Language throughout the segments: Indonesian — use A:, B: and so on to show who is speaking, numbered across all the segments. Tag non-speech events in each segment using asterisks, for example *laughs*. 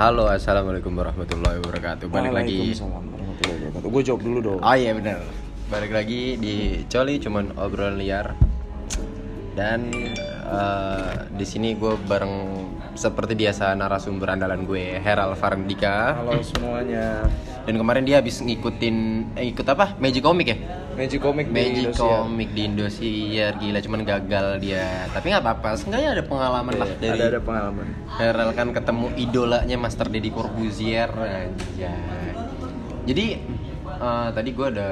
A: Halo, assalamualaikum warahmatullahi wabarakatuh. Balik lagi.
B: Waalaikumsalam warahmatullahi wabarakatuh. Gue jawab dulu dong.
A: Oh iya benar. Balik lagi di Coli cuman obrolan liar. Dan eh, di sini gue bareng seperti biasa narasumber andalan gue Heral Farandika.
B: Halo semuanya.
A: Dan kemarin dia habis ngikutin eh, ikut apa? Magic Comic ya?
B: Magic Comic di
A: Magic
B: Indosiar.
A: Comic di Indosiar gila cuman gagal dia. Tapi nggak apa-apa, seenggaknya ada pengalaman lah dari
B: Ada ada Iya, pengalaman.
A: Heral kan ketemu idolanya Master Deddy Corbuzier aja. Jadi eh, tadi gue ada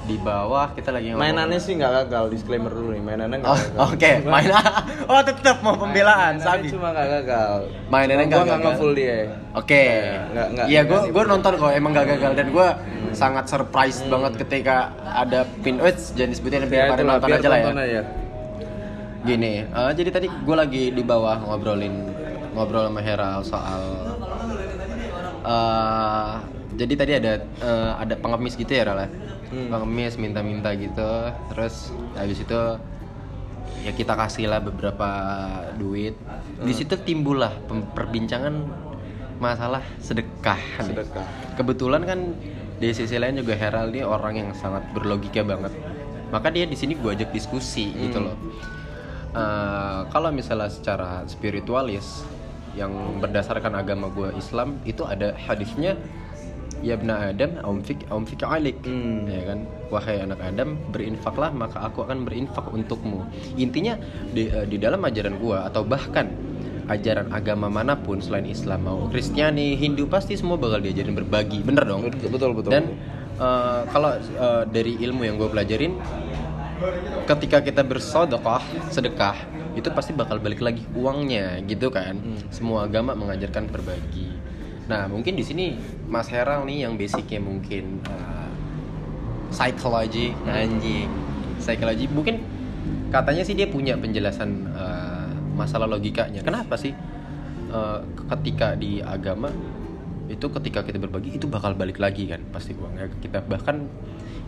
A: di bawah kita lagi ngomong.
B: Mainannya sih nggak gagal. Disclaimer dulu nih. Mainannya nggak
A: Oh,
B: gagal.
A: Oke, main. *laughs* Oh tetap mau pembelaan
B: Mainannya
A: Sabi.
B: Cuma nggak gagal.
A: Mainannya
B: Cuma
A: nggak
B: gua
A: gagal.
B: nge-full dia. Ya,
A: Oke.
B: nggak- nggak-
A: Iya gue
B: nggak sih, Hmm.
A: gue nonton kok emang gak gagal dan gue sangat surprise banget ketika ada pin oh, jangan disebutin
B: Ya,
A: biar pada
B: itulah,
A: nonton
B: biar
A: aja lah ya.
B: tonton aja.
A: Gini, eh, jadi tadi gue lagi di bawah ngobrolin ngobrol sama Heral soal eh, jadi tadi ada eh, ada pengemis gitu ya Heral ya? Pengemis minta-minta gitu, terus habis itu ya kita kasih lah beberapa duit. Di situ timbullah pem- perbincangan masalah sedekah. nih.
B: Sedekah.
A: Kebetulan kan di sisi lain juga Heral dia orang yang sangat berlogika banget. Maka dia di sini gue ajak diskusi gitu loh. Eh, kalau misalnya secara spiritualis yang berdasarkan agama gue Islam itu ada hadisnya ya bna Adam aumfik aumfik alik
B: Hmm.
A: ya kan wahai anak Adam berinfaklah maka aku akan berinfak untukmu intinya di, eh, di dalam ajaran gue atau bahkan ajaran agama manapun selain Islam mau Kristiani Hindu pasti semua bakal diajarin berbagi bener dong
B: Betul betul. betul.
A: dan eh, kalau eh, dari ilmu yang gue pelajarin, ketika kita bersodokoh, sedekah, itu pasti bakal balik lagi uangnya, gitu kan?
B: Hmm.
A: Semua agama mengajarkan berbagi. Nah, mungkin di sini Mas Heral nih yang basicnya mungkin eh, psychology,
B: Hmm.
A: anjing, psychology. Mungkin katanya sih dia punya penjelasan eh, masalah logikanya. Kenapa sih eh, ketika di agama itu ketika kita berbagi itu bakal balik lagi kan pasti uangnya ke kita bahkan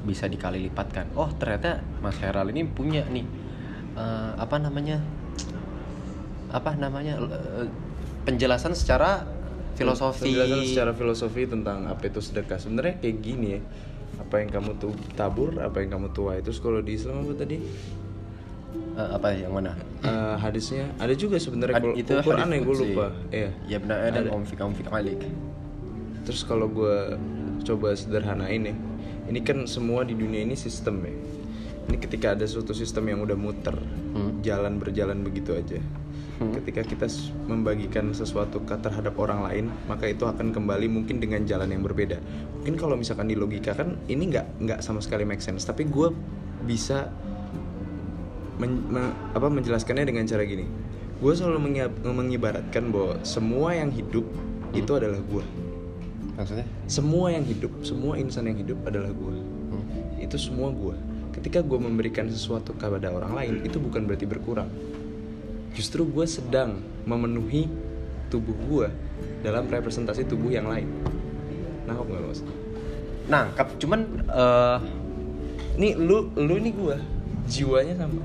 A: bisa dikali lipat kan. Oh ternyata Mas Heral ini punya nih eh, apa namanya apa namanya eh, penjelasan secara filosofi.
B: Penjelasan secara filosofi tentang apa itu sedekah. Sebenarnya kayak gini ya. Apa yang kamu tuh tabur, apa yang kamu tuai. Terus kalau di Islam apa tadi?
A: Eh, apa yang mana?
B: Eh, hadisnya ada juga sebenarnya
A: Ad-
B: kalau
A: itu
B: Quran
A: hadis
B: ya gue
A: qudsi.
B: lupa. Iya.
A: Ya benar ada omfik omfik alik.
B: Terus kalau gue coba sederhanain ya, ini kan semua di dunia ini sistem ya. Ini ketika ada suatu sistem yang udah muter, jalan berjalan begitu aja. Ketika kita s- membagikan sesuatu ke terhadap orang lain, maka itu akan kembali mungkin dengan jalan yang berbeda. Mungkin kalau misalkan di logika kan ini nggak nggak sama sekali make sense. Tapi gue bisa men- me- apa menjelaskannya dengan cara gini. Gue selalu mengia- mengibaratkan bahwa semua yang hidup itu adalah gue
A: Maksudnya?
B: semua yang hidup, semua insan yang hidup adalah gue.
A: Hmm.
B: Itu semua gue. Ketika gue memberikan sesuatu kepada orang lain, itu bukan berarti berkurang. Justru gue sedang memenuhi tubuh gue dalam representasi tubuh yang lain. Nangkep nggak lo mas?
A: Nangkap, cuman eh,
B: Nih lu, lu nih gue, jiwanya sama.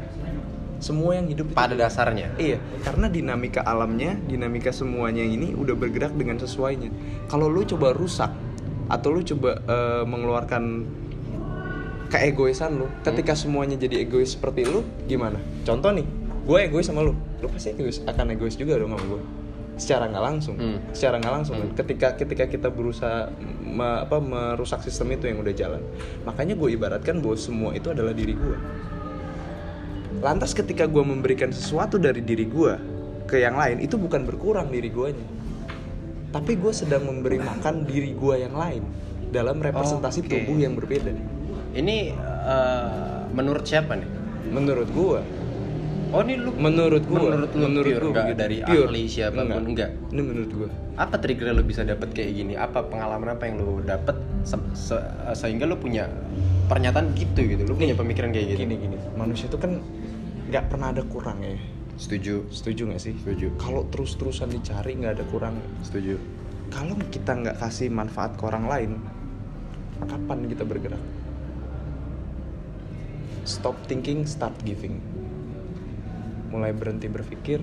B: Semua yang hidup itu
A: pada dasarnya.
B: Iya, karena dinamika alamnya, dinamika semuanya ini udah bergerak dengan sesuainya. Kalau lu coba rusak atau lu coba eh, mengeluarkan keegoisan lu, ketika semuanya jadi egois seperti lu, gimana? Contoh nih, gue egois sama lu, lu pasti egois, akan egois juga dong sama gue. Secara nggak langsung,
A: Hmm.
B: secara nggak langsung kan. Ketika ketika kita berusaha me- apa merusak sistem itu yang udah jalan, makanya gue ibaratkan bahwa semua itu adalah diri gue. Lantas ketika gue memberikan sesuatu dari diri gue ke yang lain itu bukan berkurang diri guanya. Tapi gue sedang memberi makan diri gue yang lain dalam representasi
A: Oke.
B: tubuh yang berbeda.
A: Ini eh, menurut siapa nih?
B: Menurut gue,
A: Oh ini lu
B: menurut gue,
A: Menurut lu pure,
B: gua gitu.
A: nggak
B: begitu.
A: dari ahli siapapun, nggak.
B: Ini menurut gue.
A: apa trigger lu bisa dapet kayak gini? Apa pengalaman apa yang lu dapet se- se- eh, sehingga lu punya pernyataan gitu gitu? Lu punya pemikiran kayak gitu?
B: Gini gini, manusia itu kan nggak pernah ada kurang ya.
A: Setuju,
B: Setuju nggak sih?
A: Setuju.
B: Kalau terus-terusan dicari nggak ada kurang.
A: setuju.
B: Kalau kita nggak kasih manfaat ke orang lain, kapan kita bergerak? Stop thinking, start giving. Mulai berhenti berpikir,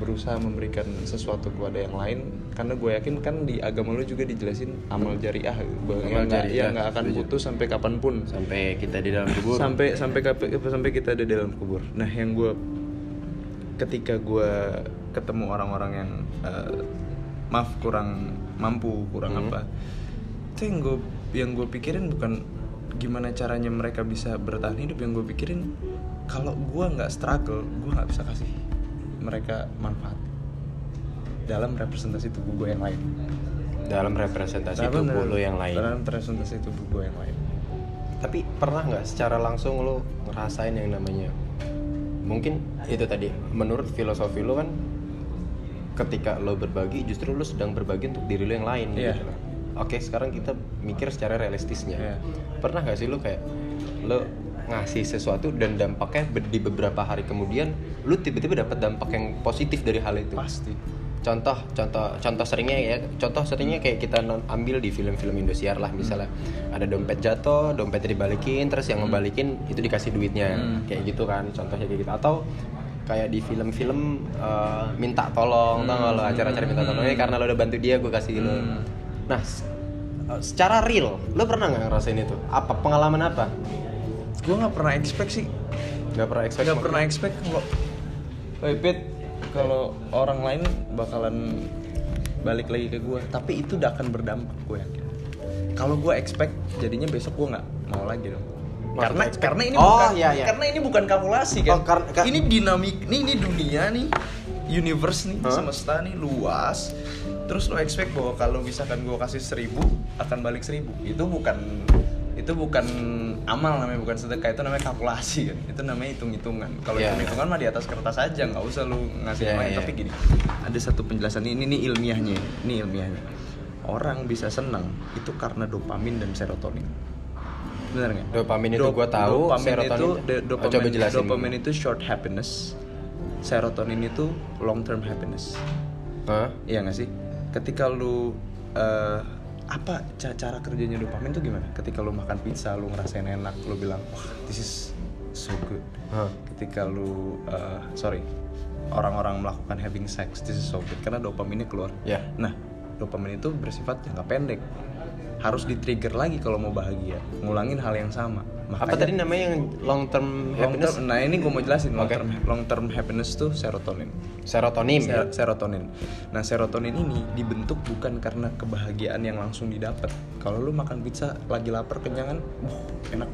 B: berusaha memberikan sesuatu kepada yang lain karena gue yakin kan di agama lu juga dijelasin amal jariah
A: Amal
B: bahwa yang nggak-
A: jariah,
B: yang nggak akan
A: setuju.
B: putus sampai kapanpun
A: sampai kita di dalam kubur
B: sampai sampai kap- sampai kita ada di dalam kubur nah yang gue ketika gue ketemu orang-orang yang eh, maaf kurang mampu kurang
A: Hmm.
B: apa itu yang gue yang gue pikirin bukan gimana caranya mereka bisa bertahan hidup yang gue pikirin kalau gue nggak struggle gue nggak bisa kasih mereka manfaat dalam representasi tubuh gue yang lain
A: dalam representasi
B: Dalam-
A: tubuh lo yang lain
B: dalam representasi tubuh gue yang lain
A: Tapi pernah nggak secara langsung lo ngerasain yang namanya? Mungkin itu tadi. Menurut filosofi lo kan, ketika lo berbagi, justru lo sedang berbagi untuk diri lo yang lain.
B: Iya.
A: gitu loh. Oke, sekarang kita mikir secara realistisnya.
B: Iya.
A: Pernah nggak sih lo kayak lo ngasih sesuatu dan dampaknya be- di beberapa hari kemudian lo tiba-tiba dapat dampak yang positif dari hal itu?
B: pasti
A: contoh contoh contoh seringnya ya contoh seringnya kayak kita non- ambil di film-film Indosiar lah misalnya ada dompet jatuh dompetnya dibalikin terus yang ngebalikin itu dikasih duitnya
B: Hmm.
A: kayak gitu kan contohnya kayak gitu atau kayak di film-film eh, minta tolong tau nggak lo acara-acara minta tolong "Eh, karena lo udah bantu dia gue kasih lo
B: Hmm.
A: nah s- eh, secara real lo pernah nggak ngerasain itu apa pengalaman apa
B: gue nggak pernah expect sih
A: nggak pernah expect
B: nggak
A: mungkin.
B: pernah expect kalau Woi, Pit, kalau orang lain bakalan balik lagi ke gue tapi itu udah akan berdampak gue yakin kalau gue expect jadinya besok gue nggak mau lagi dong
A: Maksudnya
B: karena
A: expect-
B: karena ini
A: Oh,
B: bukan
A: iya, iya.
B: karena ini bukan kalkulasi kan
A: Oh, kar- kar-
B: ini dinamik nih ini dunia nih universe nih
A: Huh?
B: semesta nih luas terus lo expect bahwa kalau misalkan gue kasih seribu akan balik seribu itu bukan itu bukan amal namanya bukan sedekah itu namanya kalkulasi kan itu namanya hitung hitungan kalau
A: Iya.
B: hitung hitungan mah di atas kertas aja nggak usah lu ngasih
A: Iya,
B: yang lain
A: iya.
B: tapi gini ada satu penjelasan ini ini ilmiahnya ini ilmiahnya orang bisa senang itu karena dopamin dan serotonin benar nggak
A: Dopamin itu
B: Dop-
A: gua tahu,
B: dopamin itu
A: serotonin-
B: de-
A: Oh,
B: dopamin,
A: coba jelasin.
B: dopamin itu short happiness serotonin itu long term happiness
A: Hah?
B: Iya nggak sih? Ketika lu eh, apa ca- cara kerjanya dopamin tuh gimana? Ketika lu makan pizza, lu ngerasain enak, lu bilang wah this is so good.
A: Hah?
B: Ketika lu eh, sorry orang-orang melakukan having sex, this is so good karena dopaminnya keluar.
A: Ya.
B: Nah dopamin itu bersifat jangka pendek. Harus di-trigger lagi kalau mau bahagia. Ngulangin hal yang sama.
A: apa tadi namanya yang long term
B: long
A: happiness
B: term, nah ini gue mau jelasin long
A: Oke.
B: term long term happiness tuh serotonin.
A: serotonin
B: Ser- serotonin. Nah, serotonin ini dibentuk bukan karena kebahagiaan yang langsung didapat. Kalau lu makan pizza lagi lapar kenyang kan, "Wah, enak.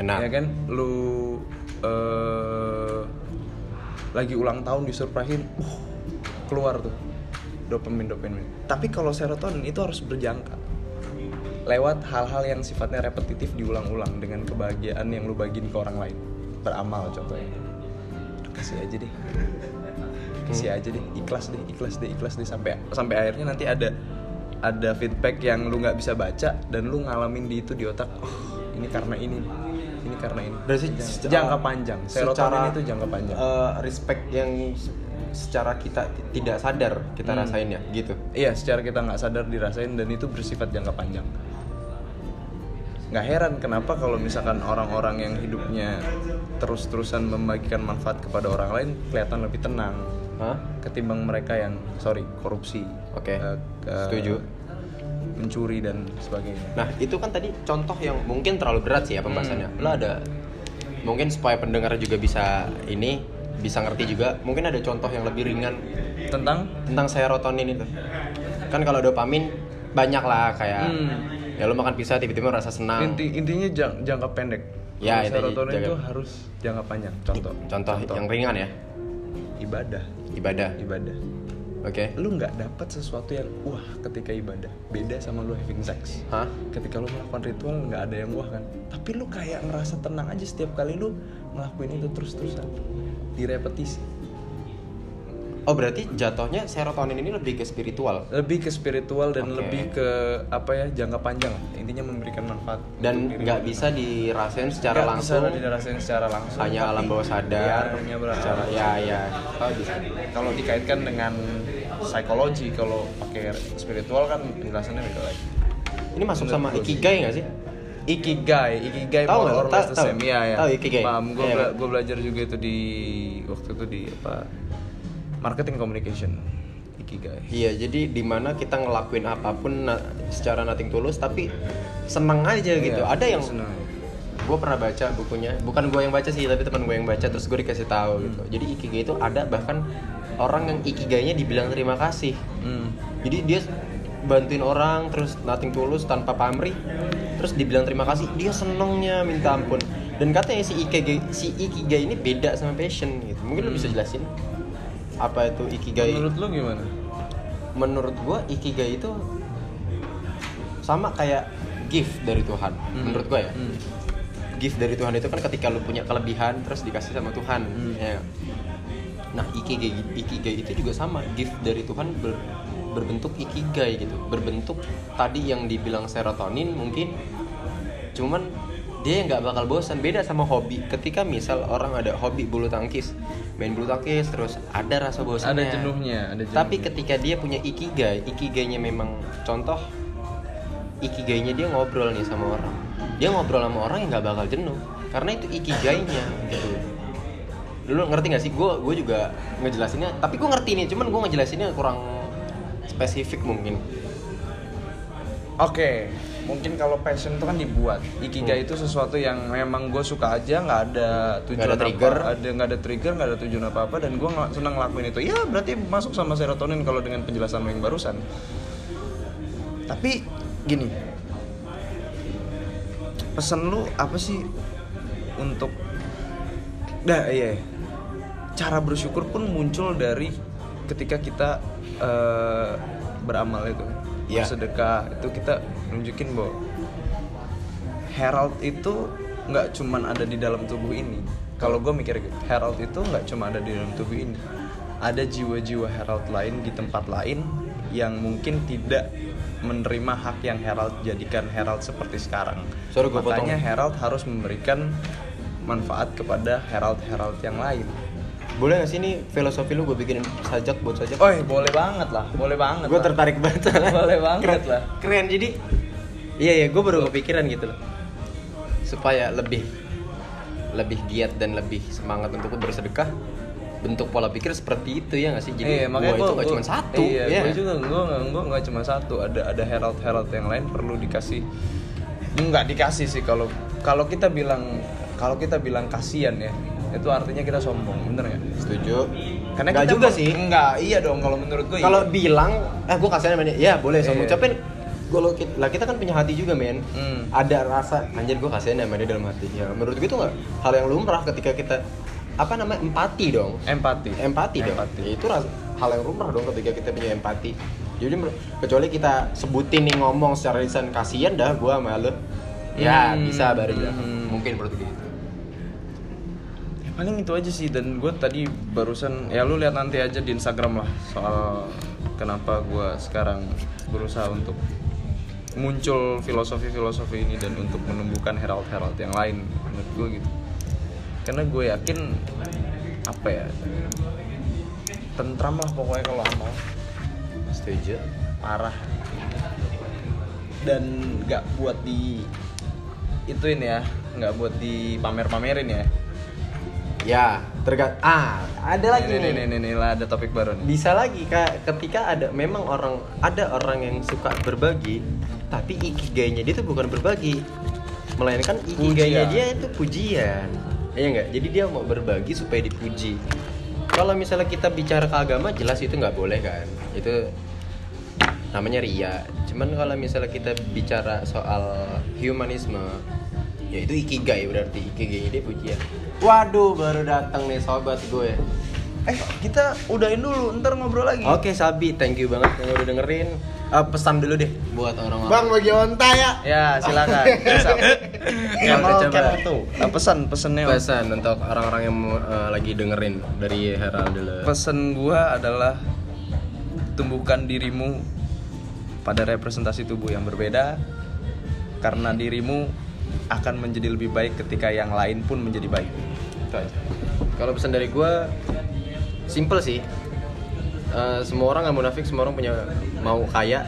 A: enak
B: Ya kan? Lu eh, lagi ulang tahun disurprisein, "Wah, keluar tuh dopamin dopamin. Tapi kalau serotonin itu harus berjangka lewat hal-hal yang sifatnya repetitif diulang-ulang dengan kebahagiaan yang lu bagiin ke orang lain beramal contohnya kasih aja deh kasih aja deh ikhlas deh ikhlas deh ikhlas deh sampai sampai akhirnya nanti ada ada feedback yang lu nggak bisa baca dan lu ngalamin di itu di otak oh ini karena ini ini karena ini
A: Berarti
B: jangka,
A: secara-
B: jangka panjang serotonin
A: secara-
B: itu jangka panjang
A: Eh, respect yang se- secara kita ti- tidak sadar kita
B: Hmm.
A: rasain ya gitu
B: Iya, secara kita nggak sadar dirasain dan itu bersifat jangka panjang. Nggak heran kenapa kalau misalkan orang-orang yang hidupnya terus-terusan membagikan manfaat kepada orang lain kelihatan lebih tenang
A: Hah?
B: ketimbang mereka yang sorry korupsi,
A: Oke,
B: eh, eh,
A: setuju.
B: mencuri dan sebagainya.
A: nah itu kan tadi contoh yang mungkin terlalu berat sih ya pembahasannya lo ada mungkin supaya pendengar juga bisa ini bisa ngerti juga mungkin ada contoh yang lebih ringan
B: Tentang
A: tentang serotonin itu kan kalau dopamin banyak lah kayak
B: Hmm.
A: ya lo makan pizza tiba-tiba merasa senang
B: inti intinya jang- jangka pendek.
A: Ya,
B: Kalau
A: intinya
B: serotonin
A: jangka-
B: itu harus jangka panjang. Contoh,
A: contoh, yang ringan ya
B: ibadah,
A: ibadah
B: ibadah.
A: oke
B: lu nggak dapat sesuatu yang wah ketika ibadah beda sama lu having sex
A: hah
B: ketika lu melakukan ritual nggak ada yang wah kan tapi lu kayak ngerasa tenang aja setiap kali lu ngelakuin itu terus terusan direpetisi
A: Oh berarti jatuhnya serotonin ini lebih ke spiritual
B: lebih ke spiritual dan
A: Oke.
B: lebih ke apa ya jangka panjang lah. intinya memberikan manfaat
A: dan
B: untuk diri
A: nggak
B: lu.
A: bisa dirasain secara
B: Nggak bisa
A: langsung
B: dirasain secara langsung
A: hanya
B: tapi-
A: alam bawah sadar
B: Iya, hanya ber-
A: secara ya ya oh, bisa
B: kalau dikaitkan dengan psikologi kalau pakai spiritual kan penjelasannya beda lagi
A: ini masuk sama ikigai nggak sih
B: Ikigai, Ikigai
A: Tahu
B: more
A: nggak?
B: or less
A: Tahu-
B: the
A: tahu.
B: same. Iya, iya.
A: Tahu Ikigai?
B: Paham, gue
A: Iya,
B: bela-
A: kan?
B: gue belajar juga itu di waktu itu di apa marketing communication ikigai
A: Iya, jadi dimana kita ngelakuin apapun na- secara nothing tulus, tapi seneng aja gitu.
B: Iya,
A: Ada yang
B: senang.
A: gue pernah baca bukunya, bukan gue yang baca sih, tapi teman gue yang baca. Terus gue dikasih tahu gitu.
B: Hmm.
A: Jadi ikigai itu ada bahkan orang yang ikigainya dibilang terima kasih.
B: Hmm.
A: Jadi dia bantuin orang, terus nothing tulus tanpa pamrih, terus dibilang terima kasih. Dia senengnya minta ampun. Dan katanya si ikigai, si ikigai ini beda sama passion gitu. Mungkin lo bisa jelasin apa itu ikigai?
B: menurut lu gimana
A: menurut gua ikigai itu sama kayak gift dari Tuhan menurut gua ya
B: Hmm.
A: gift dari Tuhan itu kan ketika lu punya kelebihan terus dikasih sama Tuhan
B: Hmm.
A: ya. nah ikigai ikigai itu juga sama gift dari Tuhan ber- berbentuk ikigai gitu berbentuk tadi yang dibilang serotonin mungkin cuman dia nggak bakal bosan beda sama hobi ketika misal orang ada hobi bulu tangkis main bulu tangkis terus ada rasa bosannya
B: ada jenuhnya ada ya? jenuhnya.
A: tapi ketika dia punya ikigai, ikigainya memang contoh ikigainya dia ngobrol nih sama orang. Dia ngobrol sama orang yang nggak bakal jenuh karena itu ikigainya gitu. Lu ngerti gak sih? Gue gue juga ngejelasinnya, tapi gue ngerti nih, cuman gue ngejelasinnya kurang spesifik mungkin.
B: Oke, mungkin kalau passion itu kan dibuat. Ikigai itu sesuatu yang memang gue suka aja, nggak ada tujuan
A: ada trigger.
B: apa, ada nggak ada trigger, nggak ada tujuan apa apa, dan gue senang ngelakuin itu. Ya berarti masuk sama serotonin kalau dengan penjelasan lo yang barusan. Tapi gini, pesan lu apa sih untuk, dah iya, cara bersyukur pun muncul dari ketika kita eh, beramal itu
A: Iya.
B: sedekah itu kita nunjukin bahwa herald itu nggak cuman ada di dalam tubuh ini kalau gue mikir gitu herald itu nggak cuma ada di dalam tubuh ini ada jiwa-jiwa herald lain di tempat lain yang mungkin tidak menerima hak yang herald jadikan herald seperti sekarang
A: Sorry, gua potong.
B: makanya herald harus memberikan manfaat kepada herald-herald yang lain
A: Boleh gak sih ini filosofi lu gue bikinin sajak buat sajak?
B: Oi, Ya, oh, iya, boleh banget lah, boleh banget.
A: gue
B: lah.
A: tertarik banget soalnya.
B: Boleh banget
A: keren,
B: lah.
A: keren jadi iya ya gue baru kepikiran gitu loh supaya lebih lebih giat dan lebih semangat untuk bersedekah bentuk pola pikir seperti itu ya nggak sih jadi
B: Iya,
A: gua
B: makanya gua-
A: itu nggak
B: gua-
A: cuma satu
B: Iya,
A: ya
B: gue juga gue gue nggak cuma satu. Ada ada herald herald yang lain perlu dikasih. Nggak dikasih sih kalau kalau kita bilang kalau kita bilang kasihan ya itu artinya kita sombong, bener nggak?
A: setuju
B: Karena
A: nggak
B: kita
A: juga
B: mau-
A: sih
B: Nggak, iya dong kalau menurut gue.
A: kalau bilang eh gue kasihan sama dia ya boleh sama
B: Iya.
A: ucapin kalau kita, lah kita kan punya hati juga men
B: Hmm.
A: ada rasa anjir gue kasihan sama dia dalam hati ya menurut gue itu nggak hal yang lumrah ketika kita apa namanya empati dong
B: empati.
A: empati dong
B: Empati.
A: Ya, itu ras- hal yang lumrah dong ketika kita punya empati jadi mer- kecuali kita sebutin nih ngomong secara lisan kasihan dah gua sama lu ya
B: Hmm.
A: bisa baru bilang.
B: Hmm.
A: mungkin menurut gue gitu.
B: Ya, paling itu aja sih dan gue tadi barusan ya lu lihat nanti aja di Instagram lah soal kenapa gue sekarang berusaha untuk muncul filosofi-filosofi ini dan untuk menumbuhkan herald-herald yang lain menurut gue gitu karena gue yakin apa ya tentram lah pokoknya kalau amal
A: setuju
B: parah dan nggak buat di ituin ya nggak buat dipamer-pamerin ya
A: ya tergant ah ada lagi
B: nih, nih, nih, nih, lah ada topik baru nih.
A: bisa lagi kak ketika ada memang orang ada orang yang suka berbagi tapi ikigainya dia itu bukan berbagi melainkan ikigainya
B: Pujian.
A: dia itu pujian iya nggak jadi dia mau berbagi supaya dipuji kalau misalnya kita bicara ke agama jelas itu nggak boleh kan itu namanya ria cuman kalau misalnya kita bicara soal humanisme ya itu ikigai berarti ikigai dia pujian waduh baru datang nih sobat gue
B: Eh, kita udahin dulu, ntar ngobrol lagi.
C: Oh.
A: Oke Sabi, thank you banget yang udah dengerin. Eh, pesan dulu deh buat orang-orang.
C: bagi onta ya.
B: Ya, *laughs* silakan. Sap. Kemal,
A: Coba.
B: Kemal tuh. Nah, pesan, pesannya. Pesan,
A: pesan untuk orang-orang yang eh, lagi dengerin dari Herald dulu.
B: pesan gua adalah tumbuhkan dirimu pada representasi tubuh yang berbeda karena dirimu akan menjadi lebih baik ketika yang lain pun menjadi baik.
A: Itu aja. Kalau pesan dari gue, simple sih. Eh, semua orang nggak munafik, semua orang punya mau kaya.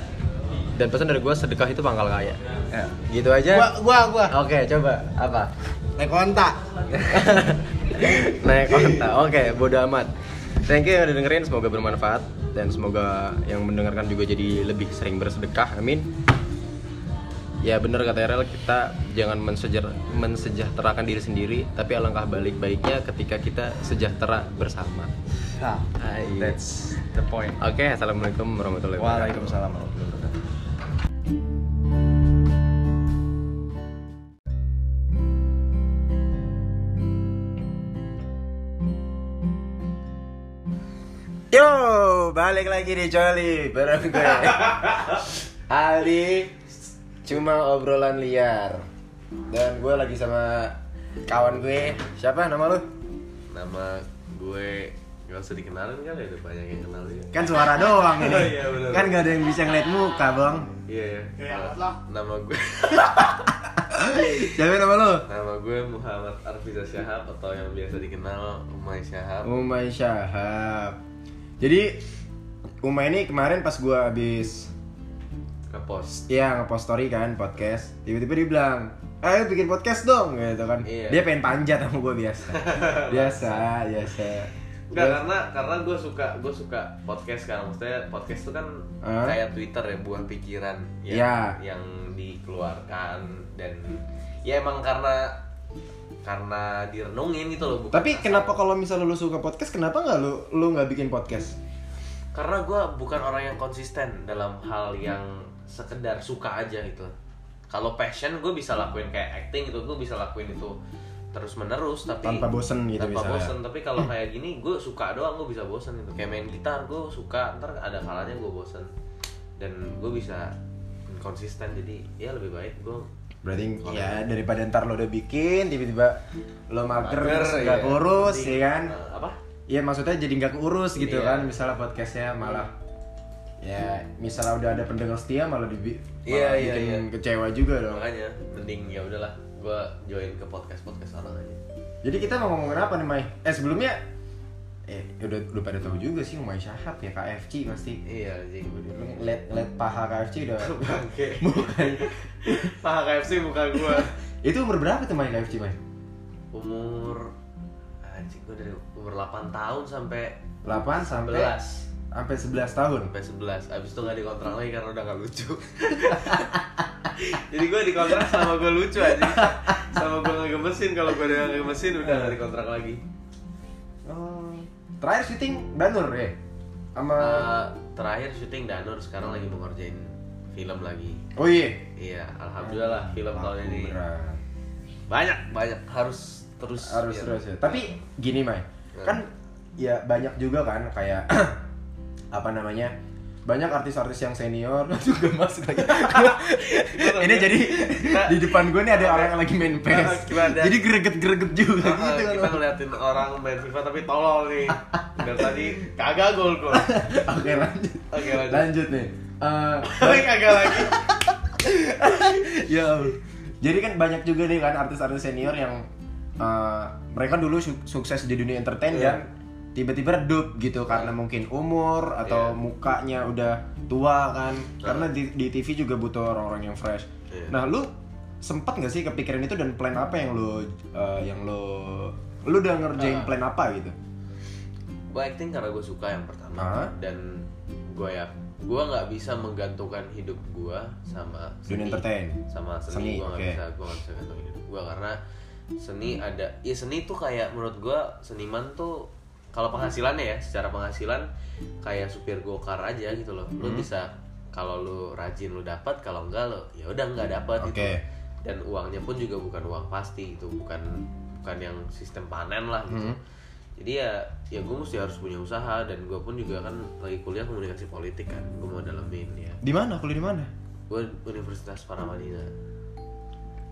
A: Dan pesan dari gue, sedekah itu pangkal kaya.
B: Ya.
A: Gitu aja.
C: Gua gua gua.
A: Oke, coba apa?
C: Naik onta.
A: Naik onta. Oke, bodo amat.
C: Thank you yang udah dengerin, semoga bermanfaat dan semoga yang mendengarkan juga jadi lebih sering bersedekah. Amin. Ya bener kata Erel, kita jangan mensejer- mensejahterakan diri sendiri, tapi alangkah balik baiknya ketika kita sejahtera bersama.
B: Nah, that's the point.
C: Oke, assalamualaikum warahmatullahi wabarakatuh.
B: Waalaikumsalam warahmatullahi wabarakatuh.
A: Yo, balik lagi di Jolly bareng
D: *laughs*
A: gue.
C: Ali cuma obrolan liar dan gue lagi sama kawan gue siapa nama lu
D: nama gue nggak usah dikenalin kali ya, udah banyak yang kenal dia
B: Kan suara doang ini.
D: Oh, iya, bener.
B: kan gak ada yang bisa ngeliat muka, Bang.
D: iya ya nama gue
B: Siapa nama lu?
D: nama gue Muhammad Arfiza Syahab atau yang biasa dikenal Umay Syahab
C: Umay Syahab jadi Umay ini kemarin pas gue habis
D: ngepost
C: ya ngepost story kan podcast tiba-tiba dia bilang ayo bikin podcast dong gitu kan
D: Iya.
C: dia pengen panjat sama gue biasa
D: *laughs*
C: biasa biasa
D: Enggak, karena karena gue suka gue suka podcast kan maksudnya podcast itu kan
C: Ah.
D: kayak Twitter ya buah pikiran Iya. yang,
C: Ya.
D: yang dikeluarkan dan ya emang karena karena direnungin gitu loh bukan
C: tapi
D: asal-
C: kenapa kalau misalnya lu suka podcast kenapa nggak lu lu nggak bikin podcast
D: karena gue bukan orang yang konsisten dalam hal yang sekedar suka aja gitu kalau passion gue bisa lakuin kayak acting gitu gue bisa lakuin itu terus menerus tapi
C: Tanpa bosen gitu
D: tanpa
C: misalnya.
D: bosen tapi kalau kayak gini gue suka doang gue bisa bosen gitu kayak main gitar gue suka ntar ada kalanya gue bosen dan gue bisa konsisten jadi ya lebih baik Iya. gue
C: Berarti ya daripada ntar lo udah bikin tiba-tiba lo mager
D: Mager,
C: terus
D: iya.
C: nggak urus ya kan?
D: eh, apa
C: Iya maksudnya jadi nggak urus gitu
D: Iya.
C: kan? Misalnya podcastnya malah ya misalnya udah ada pendengar setia malah dibi
D: Iya,
C: malah
D: iya,
C: bikin
D: iya.
C: kecewa juga dong.
D: makanya mending ya udahlah gue join ke podcast podcast orang aja
C: Jadi kita mau ngomongin apa nih Mai? Eh sebelumnya eh udah udah pada tahu juga sih Mai Syahab ya KFC pasti.
D: iya jadi gue
C: Lu ngeliat ngeliat paha KFC udah
D: *laughs* Bangke.
C: bukan.
D: Paha KFC muka gua.
C: Itu umur berapa tuh Mai KFC Mai?
D: Umur anjing gua dari umur 8 tahun sampai
C: 8 sampai
D: 11.
C: sampai 11 tahun.
D: Sampai 11. Abis itu gak dikontrak lagi karena udah gak lucu. Jadi gua dikontrak sama gua lucu aja. Sama gua ngegemesin kalau gua udah ngegemesin udah gak dikontrak lagi.
C: Oh. Terakhir syuting Banur ya? Sama
D: Eh, terakhir syuting Danur sekarang lagi mau ngerjain film lagi.
C: Oh iya.
D: Iya, alhamdulillah lah film tahun ini
C: Berat.
D: banyak banyak harus terus
C: Harus
D: biar- *laughs*
C: terus ya. Tapi gini, Mai.
D: Iya.
C: Kan ya banyak juga kan kayak *clears throat* apa namanya? Banyak artis-artis yang senior *laughs* juga masuk
D: *laughs*
C: lagi. ini jadi di depan gue nih ada orang yang lagi main
D: Nah,
C: PES.
D: gimana?
C: Jadi greget-greget juga
D: Nah,
C: gitu
D: kita
C: kan.
D: ngeliatin orang main FIFA tapi tolol nih dari *laughs* tadi kagak gol gol
C: Oke, lanjut.
D: Oke, lanjut.
C: Lanjut nih. Eh,
D: tapi kagak lagi
C: ya Allah. jadi kan banyak juga nih kan artis-artis senior yang uh, mereka dulu su- sukses di dunia entertain
D: Iya.
C: dan tiba-tiba redup gitu karena mungkin umur atau
D: Iya.
C: mukanya udah tua kan karena di, di TV juga butuh orang-orang yang fresh.
D: Iya.
C: Nah lu sempat nggak sih kepikiran itu dan plan apa yang lu uh, yang lu lu udah ngerjain plan apa gitu?
D: gue acting karena gue suka yang pertama
C: Hah?
D: dan gue ya gue nggak bisa menggantungkan hidup gue sama
C: Dunia
D: seni.
C: entertain.
D: sama
C: Seni,
D: seni, gue nggak
C: oke.
D: bisa gue nggak bisa gantungin hidup gue karena seni ada ya seni tuh kayak menurut gue seniman tuh kalau penghasilannya ya secara penghasilan kayak supir gokar aja gitu loh lu bisa kalau lu rajin lu dapat kalau enggak lo ya udah nggak dapat gitu
C: Oke.
D: dan uangnya pun juga bukan uang pasti gitu bukan bukan yang sistem panen lah gitu jadi ya ya gue mesti harus punya usaha dan gue pun juga kan lagi kuliah komunikasi politik kan gue mau dalemin ya
C: Di mana? Kuliah di mana?
D: gue Universitas Paramadina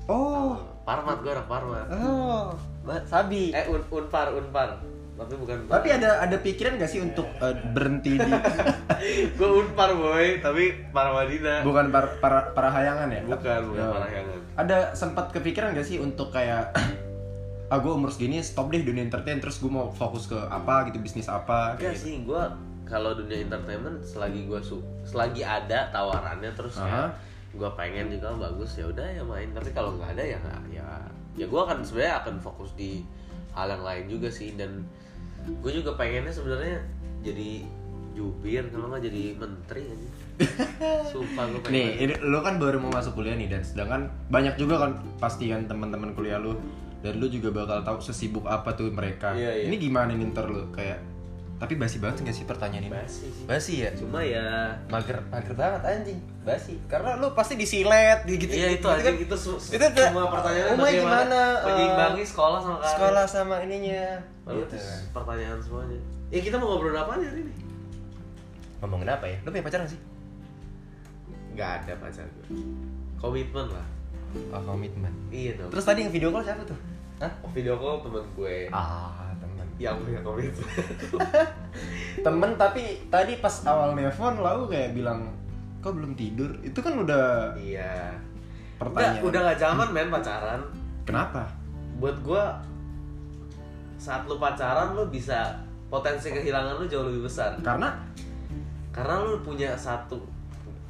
C: Oh,
D: Parmat gue anak Parmat
C: oh, Sabi.
D: eh un unpar unpar tapi bukan
C: *laughs* Tapi ada ada pikiran gak sih untuk uh, berhenti di
D: gue unpar boy tapi Paramadina
C: *laughs* bukan par- para para hayangan ya
D: bukan bukan
C: Ya.
D: parahyangan
C: ada sempat kepikiran gak sih untuk kayak *clears throat* ah gue umur segini stop deh dunia entertain terus gue mau fokus ke apa gitu bisnis apa
D: Enggak
C: kayak gitu.
D: sih, gue kalau dunia entertainment selagi gue su selagi ada tawarannya terus
C: Aha.
D: kayak gue pengen juga bagus ya udah ya main tapi kalau nggak ada ya nggak ya ya gue akan sebenarnya akan fokus di hal yang lain juga sih dan gue juga pengennya sebenarnya jadi jubir kalau nggak jadi menteri aja
C: *laughs*
D: sumpah gue pengen
C: Nih, ini, lu kan baru mau masuk kuliah nih dan sedangkan banyak juga kan pasti kan teman-teman kuliah lu dan lu juga bakal tahu sesibuk apa tuh mereka.
D: Iya, iya.
C: Ini gimana nih ntar lu kayak tapi basi banget gak sih pertanyaan ini?
D: Basi sih.
C: Basi ya?
D: cuma ya
C: Mager, mager banget anjing. Basi. Karena lu pasti disilet di gitu.
D: Iya
C: gitu
D: itu aja
C: kan.
D: itu su-
C: Itu kayak,
D: semua pertanyaan
C: "Oh my, gimana, eh,
D: Mengimbangi sekolah sama karir.
C: Sekolah sama ininya.
D: Lalu
C: Gitu.
D: terus pertanyaan semuanya. Ya kita mau ngobrol apa nih hari ini?
C: Ngomongin apa ya? Lu punya pacar gak sih?
D: Gak ada pacar gue. Komitmen lah.
C: Oh, komitmen.
D: Iya dong.
C: Terus tadi yang video call siapa tuh? Hah?
D: video call temen gue
C: Ah, temen.
D: yang punya komitmen.
C: temen tapi tadi pas awal nelfon lau kan. kayak bilang kok belum tidur itu kan udah
D: *laughs* iya. Udah,
C: pertanyaan
D: udah gak zaman men pacaran.
C: kenapa
D: Buat gue saat lu pacaran lu bisa potensi kehilangan lu jauh lebih besar.
C: karena
D: karena lu punya satu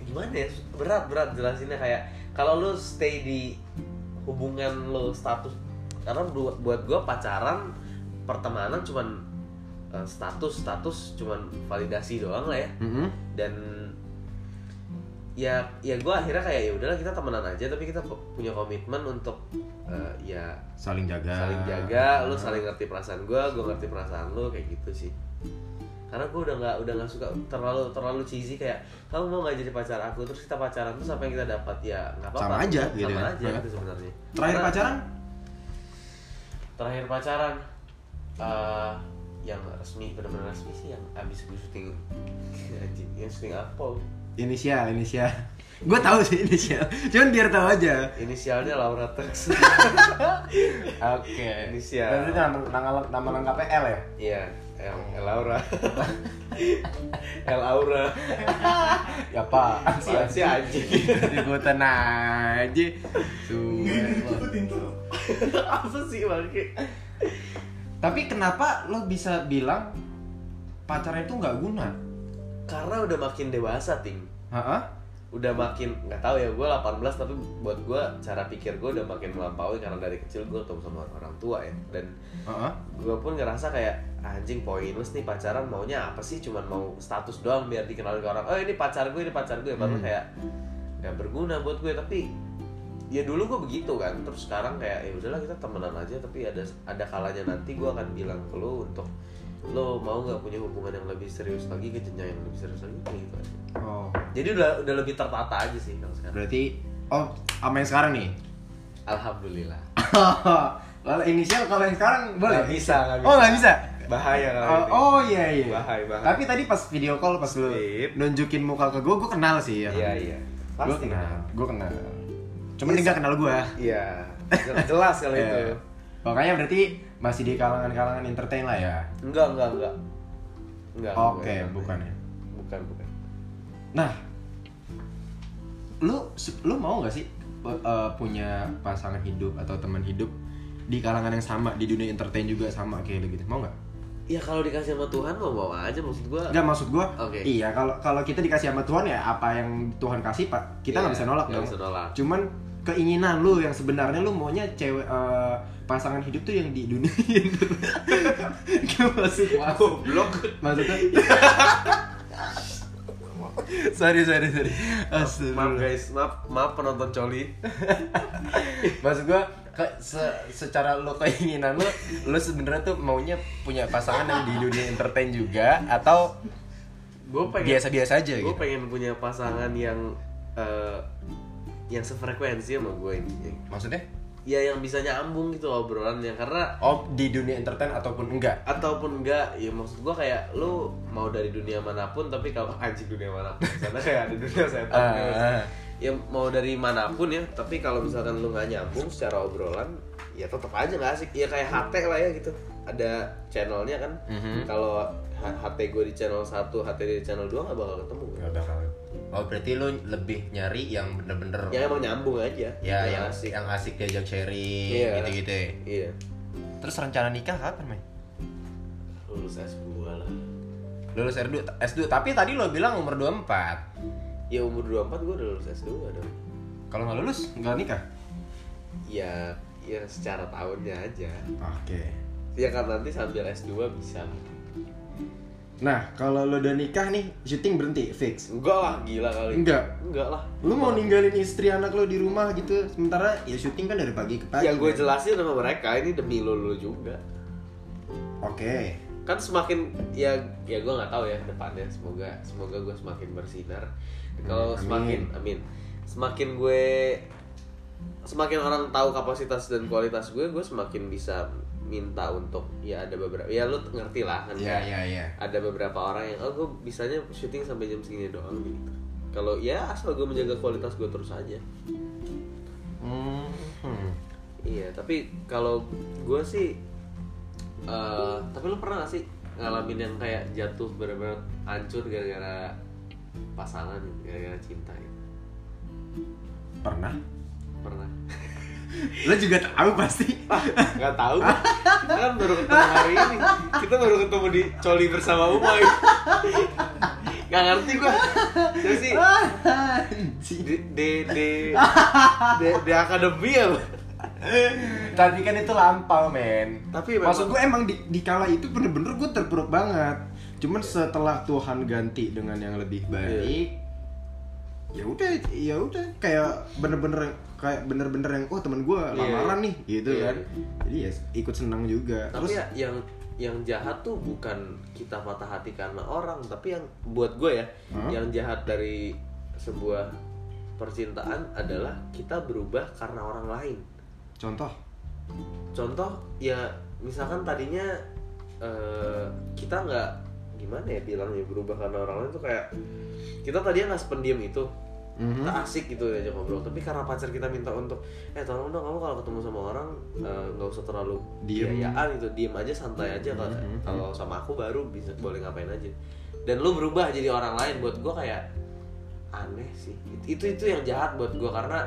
D: gimana ya berat berat jelasinnya kayak kalau lu stay di hubungan lu status karena bu- buat gua pacaran pertemanan cuman eh, status status cuman validasi doang lah ya
C: Mm-mm.
D: dan ya ya gua akhirnya kayak ya udahlah kita temenan aja tapi kita pu- punya komitmen untuk eh, ya
C: saling jaga
D: saling jaga lu saling ngerti perasaan gue gue ngerti perasaan lu kayak gitu sih karena gue udah nggak udah nggak suka terlalu terlalu cheesy kayak kamu mau nggak jadi pacar aku terus kita pacaran terus apa yang kita dapat ya nggak apa-apa
C: Sama aja,
D: sama
C: gitu ya.
D: aja
C: Iya.
D: gitu sebenarnya
C: terakhir
D: Karena
C: pacaran
D: terakhir pacaran eh, yang resmi benar-benar resmi sih yang abis gue syuting *laughs* anjing, yang syuting apa
C: inisial inisial *laughs* gue tahu sih inisial cuman biar tahu aja
D: inisialnya Laura Tex
C: oke
D: *laughs* Inisial.
C: Berarti nama nama nama lengkapnya L ya
D: iya El, El Laura *laughs* El Aura
C: ya pak
D: Apaan sih, anjing? *laughs*
C: gue tenang aja tuh
D: apa sih bangke
C: tapi kenapa lo bisa bilang pacarnya itu nggak guna
D: karena udah makin dewasa ting
C: Heeh.
D: udah makin nggak tahu ya gue 18 tapi buat gue cara pikir gue udah makin melampaui karena dari kecil gue ketemu sama orang tua ya dan
C: Heeh.
D: gue pun ngerasa kayak anjing pointless nih pacaran maunya apa sih cuman mau status doang biar dikenal ke orang oh ini pacar gue ini pacar gue baru
C: Hmm.
D: kayak nggak berguna buat gue tapi ya dulu gue begitu kan terus sekarang kayak ya udahlah kita temenan aja tapi ada ada kalanya nanti gue akan bilang ke lo untuk lo mau nggak punya hubungan yang lebih serius lagi ke jenjang yang lebih serius lagi kayak gitu aja
C: oh
D: jadi udah udah lebih tertata aja sih kalau sekarang
C: Berarti oh sama yang sekarang nih.
D: alhamdulillah
C: *laughs* Lalu inisial kalau yang sekarang boleh.
A: Nggak bisa, nggak bisa.
C: Oh, nggak bisa.
A: bahaya kalau
C: Oh,
A: ini.
C: oh, iya iya.
A: Bahaya, bahaya.
C: Tapi tadi pas video call pas lu
A: Sip.
C: nunjukin muka ke gue, gue kenal sih ya.
A: iya iya
C: Gue
A: pasti
C: kenal, gue kenal. Cuman dia nggak kenal gue.
A: iya Jel- jelas kalau itu
C: *laughs* Iya. Makanya berarti masih di kalangan-kalangan entertain lah ya.
D: enggak enggak enggak enggak
C: Oke,
D: enggak.
C: bukan ya.
D: bukan bukan
C: Nah, lu lu mau nggak sih eh, punya pasangan hidup atau teman hidup di kalangan yang sama di dunia entertain juga sama kayak lu gitu mau nggak?
D: ya kalau dikasih sama Tuhan mau mau aja maksud gue
C: Enggak maksud gua.
D: Oke.
C: Iya, kalau kalau kita dikasih sama Tuhan ya apa yang Tuhan kasih, Pak, kita nggak
D: Iya,
C: bisa nolak
D: nggak
C: dong.
D: bisa nolak.
C: Cuman keinginan lu yang sebenarnya lu maunya cewek eh, pasangan hidup tuh yang di dunia. *laughs* Gak maksud
D: blok *laughs*
C: maksudnya. sorry sorry sorry. Astagfirullah.
D: maaf guys maaf maaf penonton coli
C: maksud gua ke- se- secara lo keinginan lo lo sebenarnya tuh maunya punya pasangan yang di dunia entertain juga atau
D: gue pengen
C: biasa-biasa aja
D: gue
C: gitu.
D: pengen punya pasangan yang eh, yang sefrekuensi sama gue ini
C: Maksudnya?
D: ya yang bisa nyambung gitu obrolannya karena
C: Oh, di dunia entertain ataupun enggak?
D: ataupun enggak ya maksud gue kayak lu mau dari dunia manapun tapi kalau *laughs* anjing dunia manapun sana kayak ada dunia setan
C: Ah.
D: ya mau dari manapun ya tapi kalau misalkan lu nggak nyambung secara obrolan ya tetap aja nggak asik ya kayak HT lah ya gitu ada channelnya kan
C: Mhm.
D: kalau H- HT gue di channel 1, HT di channel 2 nggak bakal ketemu
C: Gak bakal. Oh berarti lu lebih nyari yang bener-bener
D: Ya. yang emang nyambung aja
C: ya yang
D: asik
C: yang asik diajak sharing
D: Iya.
C: gitu-gitu. ya.
D: iya
C: Terus rencana nikah kapan, Mai?
D: lulus S2 lah
C: Lulus R2, S2. Tapi tadi lo bilang umur 24.
D: ya umur 24 gue udah lulus S2 dong
C: Kalau nggak lulus, nggak nikah.
D: ya ya secara tahunnya aja
C: Oke.
D: ya kan nanti sambil S2 bisa
C: Nah, kalau lo udah nikah nih, syuting berhenti fix.
D: enggak lah gila kali
C: Enggak.
D: enggak lah
C: Lu mau ninggalin istri anak lo di rumah gitu, sementara ya syuting kan dari pagi ke pagi.
D: yang gue jelasin sama mereka ini demi lo lo juga
C: Oke.
D: kan semakin ya ya gue nggak tahu ya depannya semoga semoga gue semakin bersinar kalau Oh, semakin amin semakin gue semakin orang tahu kapasitas dan kualitas gue gue semakin bisa minta untuk ya ada beberapa ya lu ngerti lah kan
C: Iya,
D: kayak
C: iya, iya.
D: ada beberapa orang yang oh gue bisanya syuting sampai jam segini doang gitu kalau ya asal gue menjaga kualitas gue terus aja
C: Hmm.
D: Iya, tapi kalau gue sih, eh, tapi lu pernah gak sih ngalamin yang kayak jatuh bener-bener hancur gara-gara pasangan, gara-gara cinta gitu?
C: Pernah?
D: Pernah?
C: Lo juga tahu pasti.
D: Gak tau, gua. kita kan baru ketemu hari ini, kita baru ketemu di coli bersama Umay. Gak ngerti gue, terus sih
C: Anjing.
D: di di di di, di akademi ya lu?
C: Tapi kan itu lampau, men.
D: Tapi memang-
C: maksud gue emang di, di kala itu bener-bener gue terpuruk banget. Cuman setelah Tuhan ganti dengan yang
D: Iya.
C: lebih baik, ya udah, ya udah kayak bener-bener kayak bener-bener yang oh teman gue lamaran nih gitu
D: Iya.
C: kan. Jadi ya ikut senang juga.
D: Tapi ya, yang yang jahat tuh bukan kita patah hati karena orang, tapi yang buat gue ya,
C: Hmm?
D: yang jahat dari sebuah percintaan adalah kita berubah karena orang lain.
C: contoh
D: Contoh ya misalkan tadinya eh, kita nggak gimana ya bilangnya berubah karena orang lain tuh kayak kita tadinya nggak sependiam itu
C: Mhm.
D: kita asik gitu aja ngobrol tapi karena pacar kita minta untuk eh tolong dong kamu kalau ketemu sama orang eh, nggak usah terlalu
C: Diem.
D: biayaan gitu diem aja santai aja kalau kalau sama aku baru bisa boleh ngapain aja dan lu berubah jadi orang lain buat gua kayak aneh sih It- itu itu yang jahat buat gua karena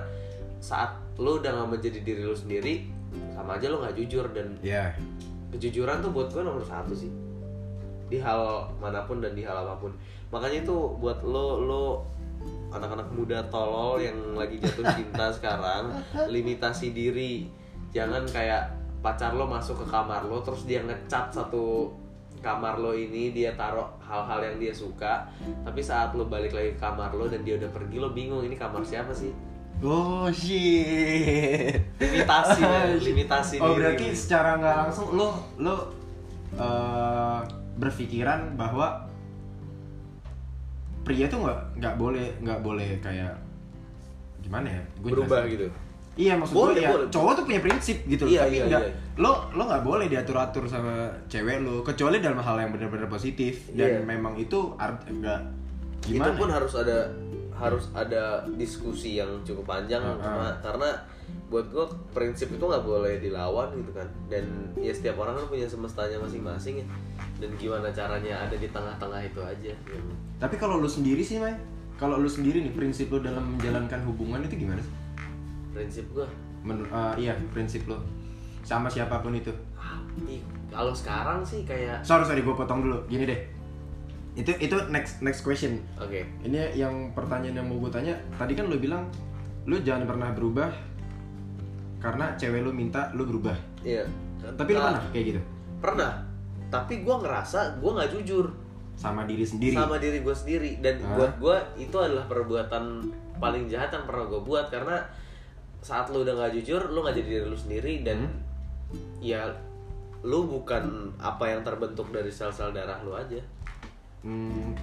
D: saat lu udah nggak menjadi diri lu sendiri sama aja lu nggak jujur dan
C: ya
D: kejujuran tuh buat gue nomor satu sih di hal manapun dan di hal apapun makanya itu buat lo lo anak-anak muda tolol yang lagi jatuh cinta sekarang limitasi diri jangan kayak pacar lo masuk ke kamar lo terus dia ngecat satu kamar lo ini dia taruh hal-hal yang dia suka tapi saat lo balik lagi ke kamar lo dan dia udah pergi lo bingung ini kamar siapa sih
C: oh shit *laughs*
D: limitasi men.
C: Eh,
D: limitasi
C: oh
D: diri.
C: berarti secara nggak langsung lo lo eh, berpikiran bahwa pria tuh nggak nggak boleh nggak boleh kayak gimana ya Gua
D: berubah
C: jelasin.
D: gitu
C: iya maksud gue
D: Boleh,
C: ya
D: boleh.
C: cowok tuh punya prinsip gitu loh
D: Iya,
C: tapi
D: iya,
C: nggak-
D: iya.
C: lo lo nggak boleh diatur atur sama cewek lo kecuali dalam hal yang benar-benar positif dan
D: Iya.
C: memang itu art enggak gimana
D: itu pun Kan harus ada harus ada diskusi yang cukup panjang
C: Ah,
D: cuma- karena buat gue prinsip itu nggak boleh dilawan gitu kan dan ya setiap orang kan punya semestanya masing-masing ya dan gimana caranya ada di tengah-tengah itu aja ya.
C: Tapi kalau lu sendiri sih, Mai, kalau lu sendiri nih prinsip lu dalam menjalankan hubungan itu gimana sih?
D: prinsip gue
C: Menurut iya, prinsip lu sama siapapun itu.
D: kalau sekarang sih kayak
C: Sorry, sorry gue potong dulu. Gini deh. Itu itu next next question.
D: oke
C: Ini yang pertanyaan yang mau gue tanya. Tadi kan lu bilang lu jangan pernah berubah karena cewek lu minta lu berubah.
D: iya
C: Tapi lu
D: Nah,
C: pernah kayak gitu
D: pernah tapi gue ngerasa gue nggak jujur
C: sama diri sendiri.
D: sama diri gue sendiri dan
C: Hah?
D: buat gue itu adalah perbuatan paling jahat yang pernah gue buat karena saat lu udah nggak jujur lu nggak jadi diri lu sendiri dan
C: Hmm?
D: ya lu bukan apa yang terbentuk dari sel-sel darah lu aja
C: Hmm,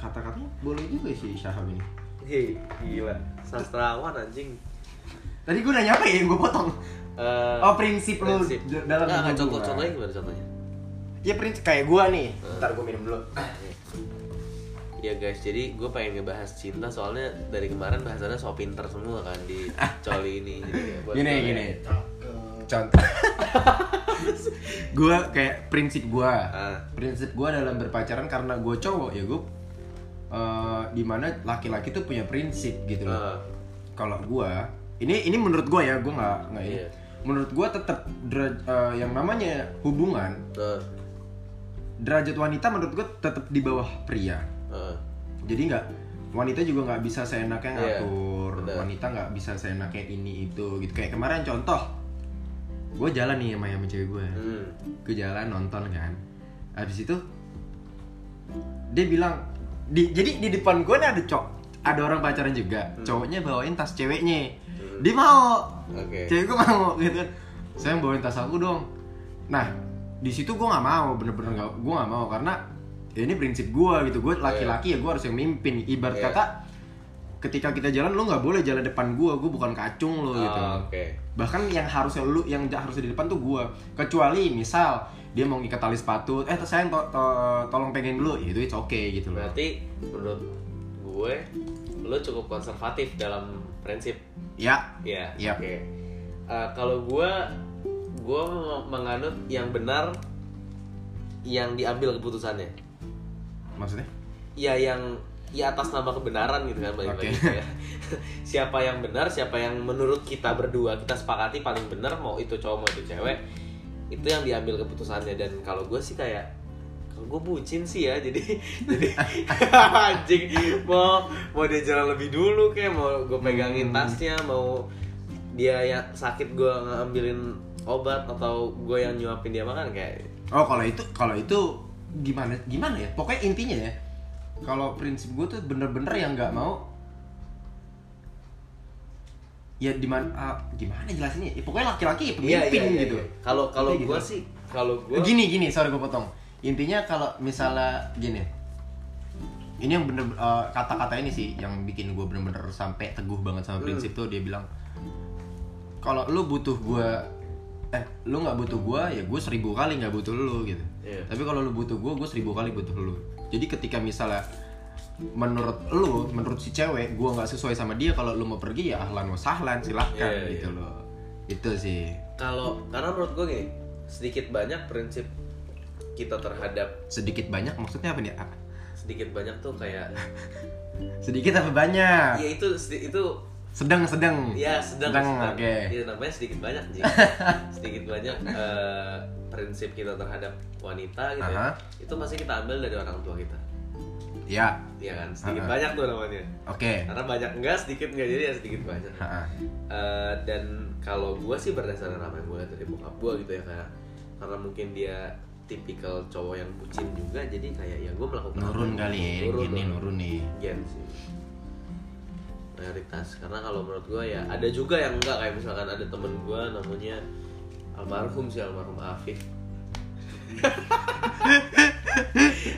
C: kata-katanya boleh juga sih Syahab ini.
D: Hei, gila sastrawan anjing
C: Tadi gue nanya apa ya yang gue potong?
D: Eh,
C: Oh, prinsip lu d- dalam
D: Nggak, nggak,
C: hubungan.
D: contoh contohnya Eh, gimana contohnya
C: Ya prinsip kayak gua nih. Ntar gue minum dulu.
D: Ya guys, jadi gue pengen ngebahas cinta soalnya dari kemarin bahasannya so pinter semua kan di coli ini. Jadi kayak buat
C: Ah. Gini
D: gue-
C: gini. Contoh. *laughs* gua kayak prinsip gua.
D: Ah.
C: Prinsip gua dalam berpacaran karena gua cowok ya gua eh, dimana laki-laki tuh punya prinsip gitu loh.
D: Ah.
C: Kalau gua ini ini menurut gua ya gua nggak nggak ini.
D: Iya.
C: Menurut gua tetap deraj- eh, yang namanya hubungan
D: Nah,
C: derajat wanita menurut gua tetap di bawah pria.
D: ah.
C: jadi nggak wanita juga nggak bisa seenaknya
D: Iya,
C: ngatur
D: benar.
C: wanita nggak bisa seenaknya ini itu gitu kayak kemarin contoh gue jalan nih sama sama cewek gue
D: Hmm.
C: gue jalan nonton kan habis itu dia bilang di, jadi di depan gue ada cok ada orang pacaran juga
D: Hmm.
C: cowoknya bawain tas ceweknya dia mau
D: Oke.
C: cewek gue mau *laughs* gitu kan saya bawain tas aku dong nah di situ gue nggak mau bener-bener nggak gue nggak mau karena ya ini prinsip gue gitu gue laki-laki ya gue harus yang mimpin ibarat
D: Iya.
C: kata ketika kita jalan lo nggak boleh jalan depan gue gue bukan kacung lo gitu
D: Ah, Oke.
C: bahkan yang harusnya lu yang harusnya di depan tuh gua kecuali misal dia mau ngikat tali sepatu eh sayang to- to- tolong pengen dulu ya, itu it's okay gitu loh
D: Berarti menurut gue lo cukup konservatif dalam prinsip.
C: ya
D: Ya.
C: Yap.
D: Oke. Eh, kalau gue gue menganut yang benar yang diambil keputusannya.
C: maksudnya
D: ya yang ya atas nama kebenaran gitu kan balik lagi
C: Oke.
D: ya. *laughs* siapa yang benar siapa yang menurut kita berdua kita sepakati paling benar mau itu cowok mau itu cewek itu yang diambil keputusannya dan kalau gue sih kayak kalau gue bucin sih ya jadi *laughs* jadi anjing mau mau dia jalan lebih dulu kayak mau gue
C: Hmm.
D: pegangin tasnya mau dia yang sakit gue ngambilin obat atau gue yang nyuapin dia makan kayak
C: oh kalau itu kalau itu gimana gimana ya pokoknya intinya ya kalau prinsip gua tuh bener-bener yang nggak mau ya di mana ah, gimana jelasinnya ya, pokoknya laki-laki ya
D: Iya,
C: pemimpin
D: iya, iya,
C: gitu
D: iya. kalau kalau
C: Kayak gitu.
D: gue sih kalau gue
C: gini gini sorry gue potong intinya kalau misalnya gini ini yang bener eh, kata-kata ini sih yang bikin gue bener-bener sampai teguh banget
D: Hmm.
C: sama prinsip tuh dia bilang kalau lu butuh gue eh lu nggak butuh gue ya gue seribu kali nggak butuh lu gitu
D: Iya.
C: tapi kalau lu butuh gue gue seribu kali butuh lu jadi ketika misalnya menurut lu menurut si cewek gue nggak sesuai sama dia kalau lu mau pergi ya ahlan wa sahlan silahkan
D: Iya, iya.
C: gitu loh itu sih
D: kalau karena menurut gue gini sedikit banyak prinsip kita terhadap
C: sedikit banyak maksudnya apa nih Ah.
D: sedikit banyak tuh kayak
C: Sedikit apa banyak?
D: ya itu sedi- itu
C: Sedang, sedang.
D: ya sedang
C: Sedang,
D: sedang.
C: oke.
D: Ya, namanya sedikit banyak
C: *laughs*
D: sih sedikit banyak eh, prinsip kita terhadap wanita gitu ya,
C: Aha.
D: itu pasti kita ambil dari orang tua kita
C: Ya,
D: Iya kan sedikit
C: Aha. Eh.
D: banyak tuh namanya
C: oke.
D: karena banyak enggak sedikit enggak jadi ya sedikit banyak
C: Ha-ha.
D: Eh, dan kalau gue sih berdasarkan apa yang gue lihat dari bokap gue gitu ya kayak karena mungkin dia tipikal cowok yang bucin juga jadi kayak ya gue melakukan
C: Nurun
D: apa-
C: kali ya,
D: nurun,
C: gini
D: nurun.
C: nurun nih.
D: gen sih prioritas karena kalau menurut gue ya ada juga yang enggak kayak misalkan ada temen gue namanya almarhum sih almarhum Afif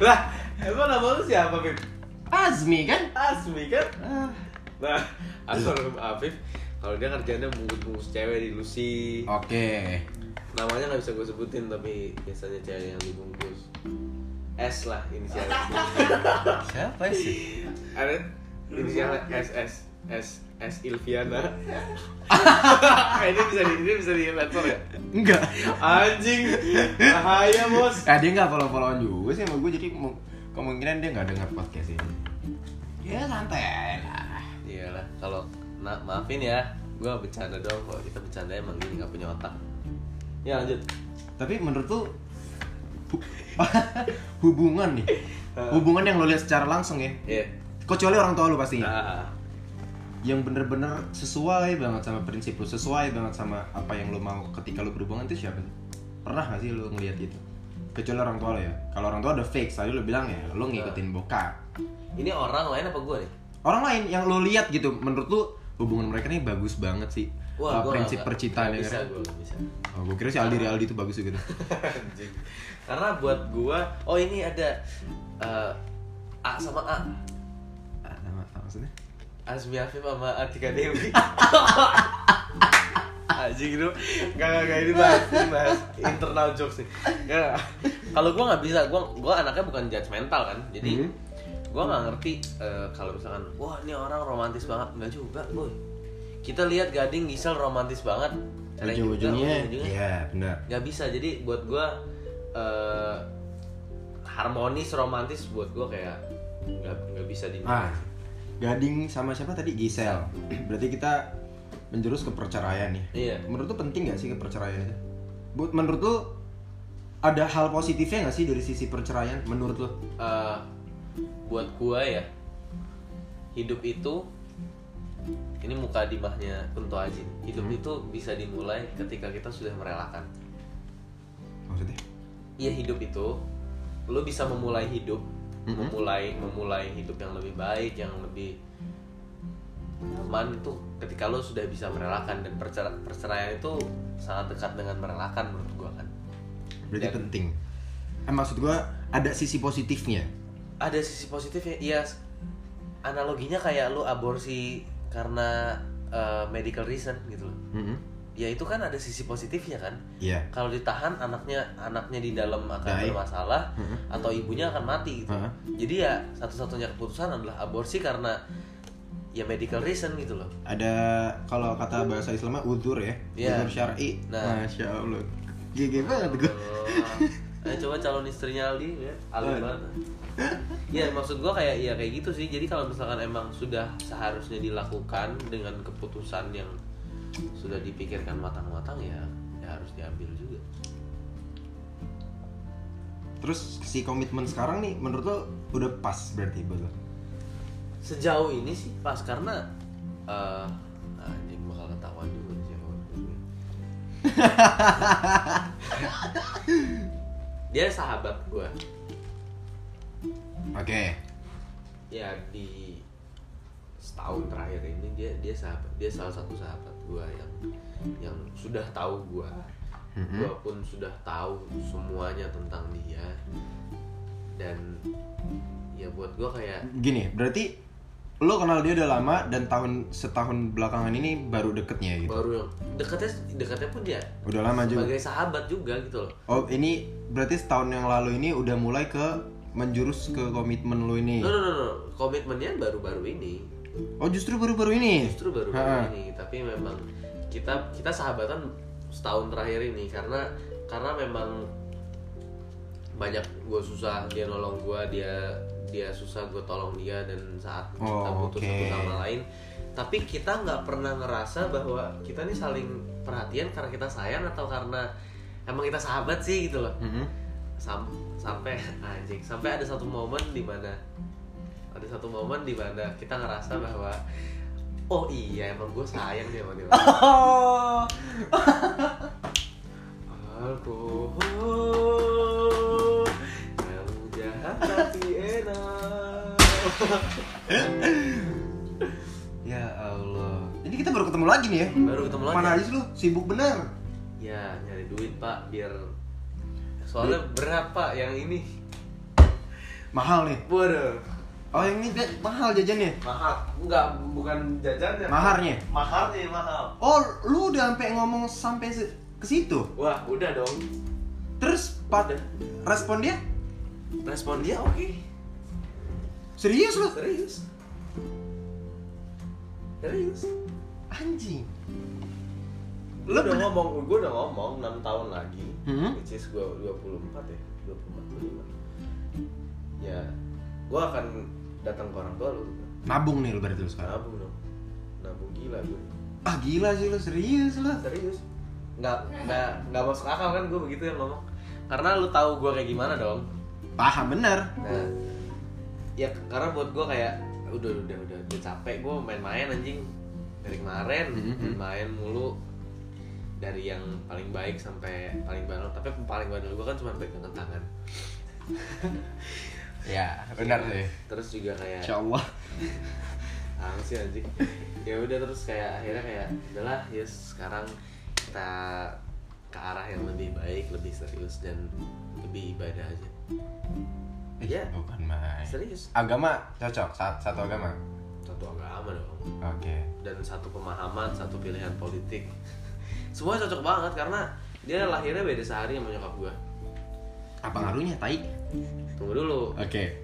D: lah emang nama lu siapa Bib?
C: Azmi kan?
D: Asmi kan?
C: Ah.
D: Nah, *laughs* almarhum Afif kalau dia kerjanya bungkus-bungkus cewek di Lucy
C: Oke.
D: namanya nggak bisa gue sebutin tapi biasanya cewek yang dibungkus S lah inisialnya
C: Siapa sih?
D: ada inisialnya S S S S Ilviana ini bisa di ini bisa di laptop ya
C: Enggak.
D: anjing bahaya bos
C: Nah, dia nggak follow-followan juga sih sama gue, jadi mu- kemungkinan dia nggak dengar podcast ini. Ya santai lah.
D: iyalah kalau nah, maafin ya gue bercanda doang kok kita bercanda emang gini nggak punya otak ya lanjut
C: Tapi menurut lu hu- *laughs* hubungan nih, hubungan yang lo lihat secara langsung ya.
D: Eh. iya
C: Kecuali orang tua ya? lu pastinya.
D: Ah.
C: yang bener-bener sesuai banget sama prinsip lu sesuai banget sama apa yang lu mau ketika lu berhubungan itu siapa sih pernah gak sih lu ngeliat itu kecuali orang tua lo ya kalau orang tua udah fix tadi lu bilang ya lu
D: Iya.
C: ngikutin bokap
D: ini orang lain apa gue nih
C: orang lain yang lu lihat gitu menurut lu hubungan mereka nih bagus banget sih Uh,
D: gua
C: prinsip
D: nggak-
C: percintaan
D: nggak
C: yang
D: bisa gue bisa
C: oh, gue kira si Aldi Aldi itu bagus gitu. juga tuh.
D: Anjing. karena buat gue oh ini ada eh, A sama A
C: Ah, nama- ah, maksudnya
D: Azmi Afif sama Atika
C: *laughs*
D: Dewi Anjing itu Gak, gak, gak, ini bahas, ini bahas internal jokes nih Nggak, nggak. Kalau gue gak bisa, gue gua anaknya bukan judgmental kan Jadi
C: Mhm.
D: gue gak ngerti eh, kalau misalkan Wah ini orang romantis banget, gak juga boy Kita lihat Gading Gisel romantis banget Cara kita,
C: ujung-ujungnya
D: ujung-ujungnya
C: ya benar
D: nggak bisa jadi buat gue eh, harmonis romantis buat gue kayak nggak nggak bisa di
C: Ah, Gading sama siapa tadi? Gisel. *clears throat* Berarti kita menjurus ke perceraian nih.
D: Iya.
C: Menurut lu penting gak sih ke perceraian itu? Bu- Menurut lu ada hal positifnya gak sih dari sisi perceraian? Menurut lu?
D: Eh, buat gue ya hidup itu ini muka dimahnya Kunto Aji hidup itu bisa dimulai ketika kita sudah merelakan
C: maksudnya
D: iya hidup itu lo bisa memulai hidup memulai memulai hidup yang lebih baik yang lebih nyaman itu ketika lo sudah bisa merelakan dan percer- perceraian itu sangat dekat dengan merelakan menurut gua kan
C: berarti
D: Dan-
C: penting eh, maksud gua ada sisi positifnya
D: ada sisi positifnya iya analoginya kayak lu aborsi karena uh, medical reason gitu loh
C: Mm-mm.
D: ya itu kan ada sisi positifnya kan
C: iya
D: kalau ditahan anaknya anaknya di dalam akan
C: Baik.
D: bermasalah atau ibunya akan mati gitu
C: Heeh.
D: jadi ya satu-satunya keputusan adalah aborsi karena ya medical reason gitu loh
C: ada kalau kata bahasa Islamnya udur ya
D: Iya.
C: udur syari
D: Nah.
C: masya allah gigi banget
D: *laughs*
C: gua
D: Oh. Ayo coba calon istrinya Aldi ya, Aldi banget. Ya maksud gua kayak ya kayak gitu sih. Jadi kalau misalkan emang sudah seharusnya dilakukan dengan keputusan yang sudah dipikirkan matang-matang ya, ya harus diambil juga.
C: terus si komitmen sekarang nih menurut lo udah pas berarti buat lo
D: Sejauh ini sih pas karena eh anjing bakal ketahuan juga sih. kalau gue. Dia sahabat gua.
C: oke
D: ya di setahun terakhir ini dia dia sahabat dia salah satu sahabat gua yang yang sudah tahu gua gua pun sudah tahu semuanya tentang dia dan ya buat gua kayak
C: gini berarti lo kenal dia udah lama dan tahun setahun belakangan ini baru deketnya gitu
D: baru yang dekatnya dekatnya pun dia
C: udah lama juga
D: sebagai sahabat juga gitu loh
C: oh ini berarti setahun yang lalu ini udah mulai ke menjurus ke komitmen lo ini
D: no no no, no. komitmennya baru-baru ini
C: oh justru baru-baru ini
D: justru baru
C: Ha-ha.
D: ini tapi memang kita kita sahabatan setahun terakhir ini karena karena memang banyak gue susah dia nolong gue dia dia susah gue tolong dia dan saat kita
C: Oh, oke.
D: butuh satu sama lain tapi kita nggak pernah ngerasa bahwa kita nih saling perhatian karena kita sayang atau karena emang kita sahabat sih gitu loh
C: *laughs* Mhm.
D: Sam- sampai *laughs* anjing sampai ada satu momen di mana ada satu momen di mana kita ngerasa bahwa oh iya emang gue sayang dia sama dia alkohol yang jahat tapi enak ya Allah
C: Jadi kita baru ketemu lagi nih ya.
D: Baru ketemu lagi.
C: Mana aja sih lu sibuk bener.
D: ya nyari duit pak biar soalnya berapa yang ini
C: Mahal nih.
D: waduh
C: Oh yang ini Dek, mahal jajannya.
D: mahal enggak bukan jajannya
C: Maharnya.
D: mahalnya mahal
C: Oh lu udah sampai ngomong sampai se- ke situ.
D: wah udah dong
C: Terus pat respon dia
D: respon dia oke
C: serius lu.
D: serius serius
C: Anjing.
D: lu udah ngomong gue udah ngomong 6 tahun lagi
C: Hmm?
D: which is gue 24 ya 24 25 ya gue akan datang ke orang tua lu
C: Nabung nih lu berarti lu sekarang.
D: nabung dong nabung gila gue
C: Ah gila sih lu serius lu.
D: serius nggak nggak nggak masuk akal kan gue begitu yang ngomong karena lu tahu gue kayak gimana dong
C: Paham bener.
D: Nah, ya karena buat gue kayak udah udah udah udah capek gue main-main anjing dari kemarin
C: Mhm.
D: main mulu dari yang paling baik sampai paling bandel tapi paling bandel gue kan cuma pegangan tangan
C: Ya
D: terus juga kayak
C: Insya Allah.
D: Apaan sih anjing *laughs* ya udah terus kayak akhirnya kayak udahlah ya sekarang kita ke arah yang lebih baik lebih serius dan lebih ibadah aja Iya.
C: Eh, Bukan main.
D: serius
C: Agama cocok sa- satu agama.
D: satu agama dong
C: Oke.
D: dan satu pemahaman, satu pilihan politik. Semua cocok banget karena dia lahirnya beda sehari sama nyokap gua.
C: Apa ngaruhnya tai?
D: Tunggu dulu.
C: Oke.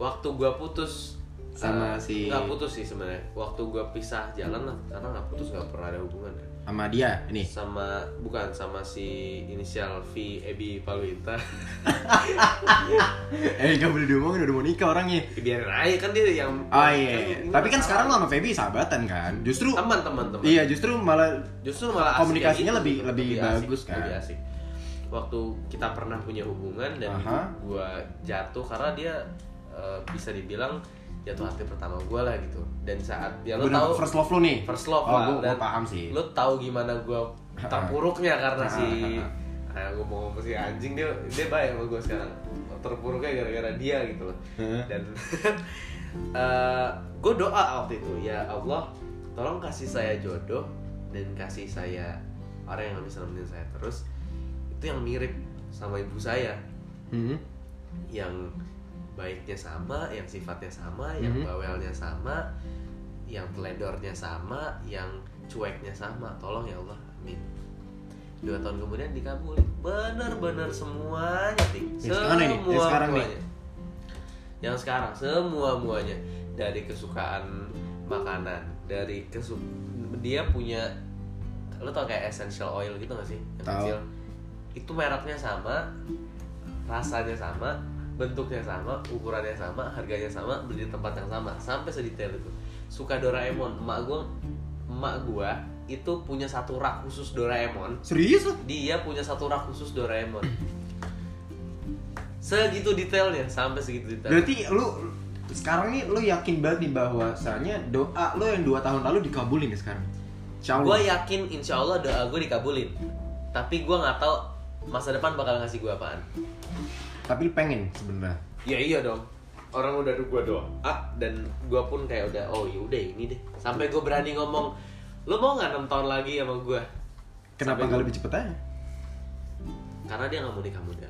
D: Waktu gua putus
C: Sama
D: eh,
C: si-
D: nggak putus sih sebenarnya. Waktu gua pisah jalan lah karena nggak putus nggak pernah ada hubungan.
C: Sama dia ini. *laughs*
D: Sama bukan sama si inisial V Ebi Paluita.
C: eh gak boleh diomongin udah mau nikah orangnya.
D: Biarin aja kan dia yang
C: Oh iya, iya.
D: kan ini
C: tapi kan sekarang lo sama Feby sahabatan kan. Justru
D: teman teman teman.
C: iya justru malah
D: justru malah asik
C: Komunikasinya
D: kayak
C: lebih- lebih
D: asik,
C: bagus kan?
D: lebih asik waktu kita pernah punya hubungan dan
C: Aha.
D: gua jatuh karena dia eh, bisa dibilang jatuh hati pertama gue lah gitu dan saat ya lo
C: Bener,
D: tahu
C: first love lo nih
D: first love
C: oh,
D: lah
C: gue
D: dan
C: paham sih
D: lo tahu gimana gue terpuruknya karena si
C: Ah,
D: ah, gue mau ngomong si anjing dia dia baik sama gue sekarang terpuruknya gara-gara dia gitu loh
C: Heeh.
D: dan *laughs* gue doa waktu itu ya Allah tolong kasih saya jodoh dan kasih saya orang yang bisa nemenin saya terus itu yang mirip sama ibu saya
C: Mhm.
D: yang baiknya sama, yang sifatnya sama, yang
C: Mhm.
D: bawelnya sama, yang teledornya sama, yang cueknya sama. Tolong ya Allah, amin. Dua tahun kemudian dikabulin, bener-bener semuanya, Tik.
C: Yang sekarang nih, yang sekarang nih.
D: muanya. Yang sekarang semua muanya dari kesukaan makanan, dari kesu dia punya lo tau kayak essential oil gitu gak sih yang
C: Tahu.
D: kecil itu mereknya sama rasanya sama bentuknya sama ukurannya sama harganya sama beli di tempat yang sama sampai sedetail itu suka Doraemon emak gue emak gue itu punya satu rak khusus Doraemon
C: serius lo
D: dia punya satu rak khusus Doraemon segitu detailnya sampai segitu detail
C: berarti lu sekarang nih lu yakin banget nih bahwasanya doa lu yang dua tahun lalu dikabulin nih sekarang Insya
D: gue
C: Allah
D: yakin insya Allah doa gue dikabulin tapi gue nggak tahu masa depan bakal ngasih gue apaan
C: tapi lu pengen sebenarnya
D: Ya iya dong. Orang udah gue doa Ah, dan gue pun kayak udah oh yaudah ini deh. Sampai gue berani ngomong, lo mau nggak enam tahun lagi sama gue?
C: kenapa nggak lebih cepet aja
D: Karena dia nggak mau nikah muda.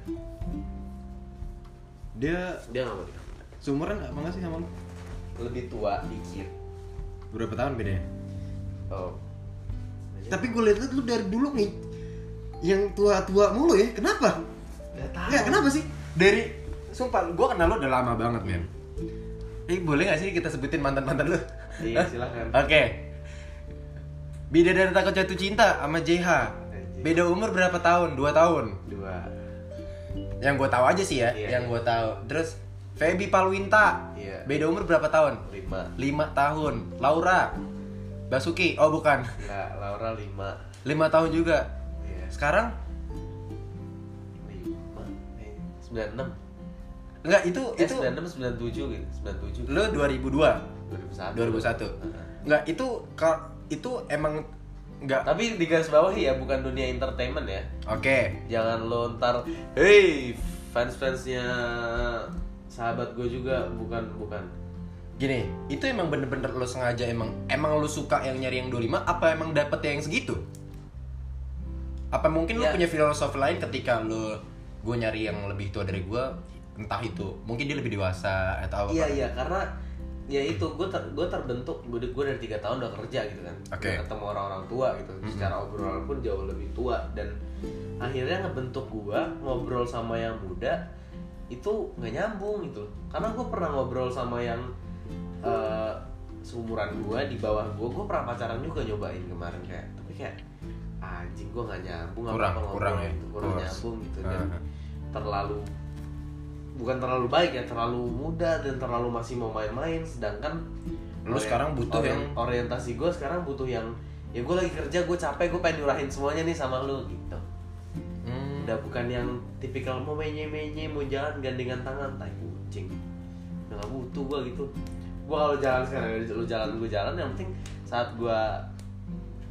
C: dia
D: Dia nggak mau nikah muda.
C: seumuran apa nggak sih sama lu
D: Lebih tua dikit.
C: berapa tahun bedanya
D: Oh.
C: tapi gue lihat lu dari dulu nih yang tua-tua mulu ya kenapa
D: Nggak tahu.
C: Enggak, kenapa sih? Dari sumpah gue kenal lo udah lama banget, men. Eh, boleh gak sih kita sebutin mantan-mantan lu?
D: Iya, silakan.
C: *laughs* Oke. Beda dari takut jatuh cinta sama JH. Beda umur berapa tahun? Dua tahun.
D: Dua.
C: Yang gue tahu aja sih ya,
D: Iya,
C: yang
D: iya.
C: gue tahu. Terus Feby Palwinta.
D: Iya.
C: Beda umur berapa tahun?
D: Lima.
C: Lima tahun. Laura. Basuki. Oh, bukan.
D: Nggak, Laura lima.
C: Lima tahun juga.
D: Iya.
C: Sekarang
D: Lima. Eh, Sembilan enam.
C: enggak itu
D: Eh,
C: itu
D: sembilan enam, sembilan tujuh gitu. Sembilan tujuh.
C: lu 2002.
D: Dua ribu satu. Uh-huh.
C: 2001. Nggak, itu ka- itu emang nggak
D: Tapi di garis bawah ya, bukan dunia entertainment ya.
C: Oke.
D: jangan lo ntar hey fans fansnya sahabat gue juga bukan bukan
A: Gini, itu emang bener-bener lo sengaja emang emang lo suka yang nyari yang 25 apa emang dapet yang segitu? Apa mungkin lo
D: Ya.
A: punya filosofi lain ketika lo gue nyari yang lebih tua dari gue entah itu mungkin dia lebih dewasa atau apa?
D: iya iya karena ya itu gue ter, gue terbentuk gue gue dari tiga tahun udah kerja gitu kan
A: Oke. Hmm.
D: Udah ketemu orang-orang tua gitu secara obrolan pun jauh lebih tua dan akhirnya ngebentuk gue ngobrol sama yang muda itu nggak nyambung gitu karena gue pernah ngobrol sama yang eh, seumuran gue di bawah gue gue pernah pacaran juga nyobain kemarin kayak tapi kayak anjing gue nggak nyambung
A: Kurang,
D: apa-apa ngobrol
A: kurang ya.
D: gitu, kurang
A: Kurang. Ah,
D: nyambung gitu dan
A: Aha.
D: terlalu bukan terlalu baik ya terlalu muda dan terlalu masih mau main-main sedangkan
A: Lu sekarang butuh yang-
D: orientasi gue sekarang butuh yang ya gue lagi kerja gue capek gue pengen nyurahin semuanya nih sama lu gitu
A: Hmm.
D: udah bukan yang tipikal mau menye-menye mau jalan gandengan tangan tai kucing udah gak butuh gue gitu gue kalau jalan sekarang lu jalan gue jalan yang penting saat gue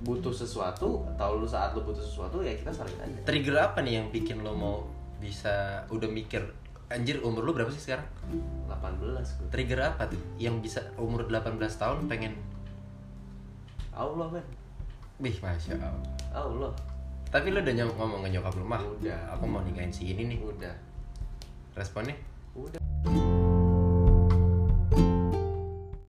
D: butuh sesuatu atau lu saat lu butuh sesuatu ya kita saling aja
A: Trigger apa nih yang bikin lo mau bisa udah mikir anjir umur lo berapa sih sekarang?
D: 18 gue
A: Trigger apa tuh yang bisa umur 18 tahun pengen
D: Allah men
A: Wih, masya Allah.
D: Allah
A: Tapi lo udah nyok- ngomong ke nyokap lo mah?
D: Udah.
A: Aku mau nikahin si ini nih.
D: udah
A: Responnya?
D: udah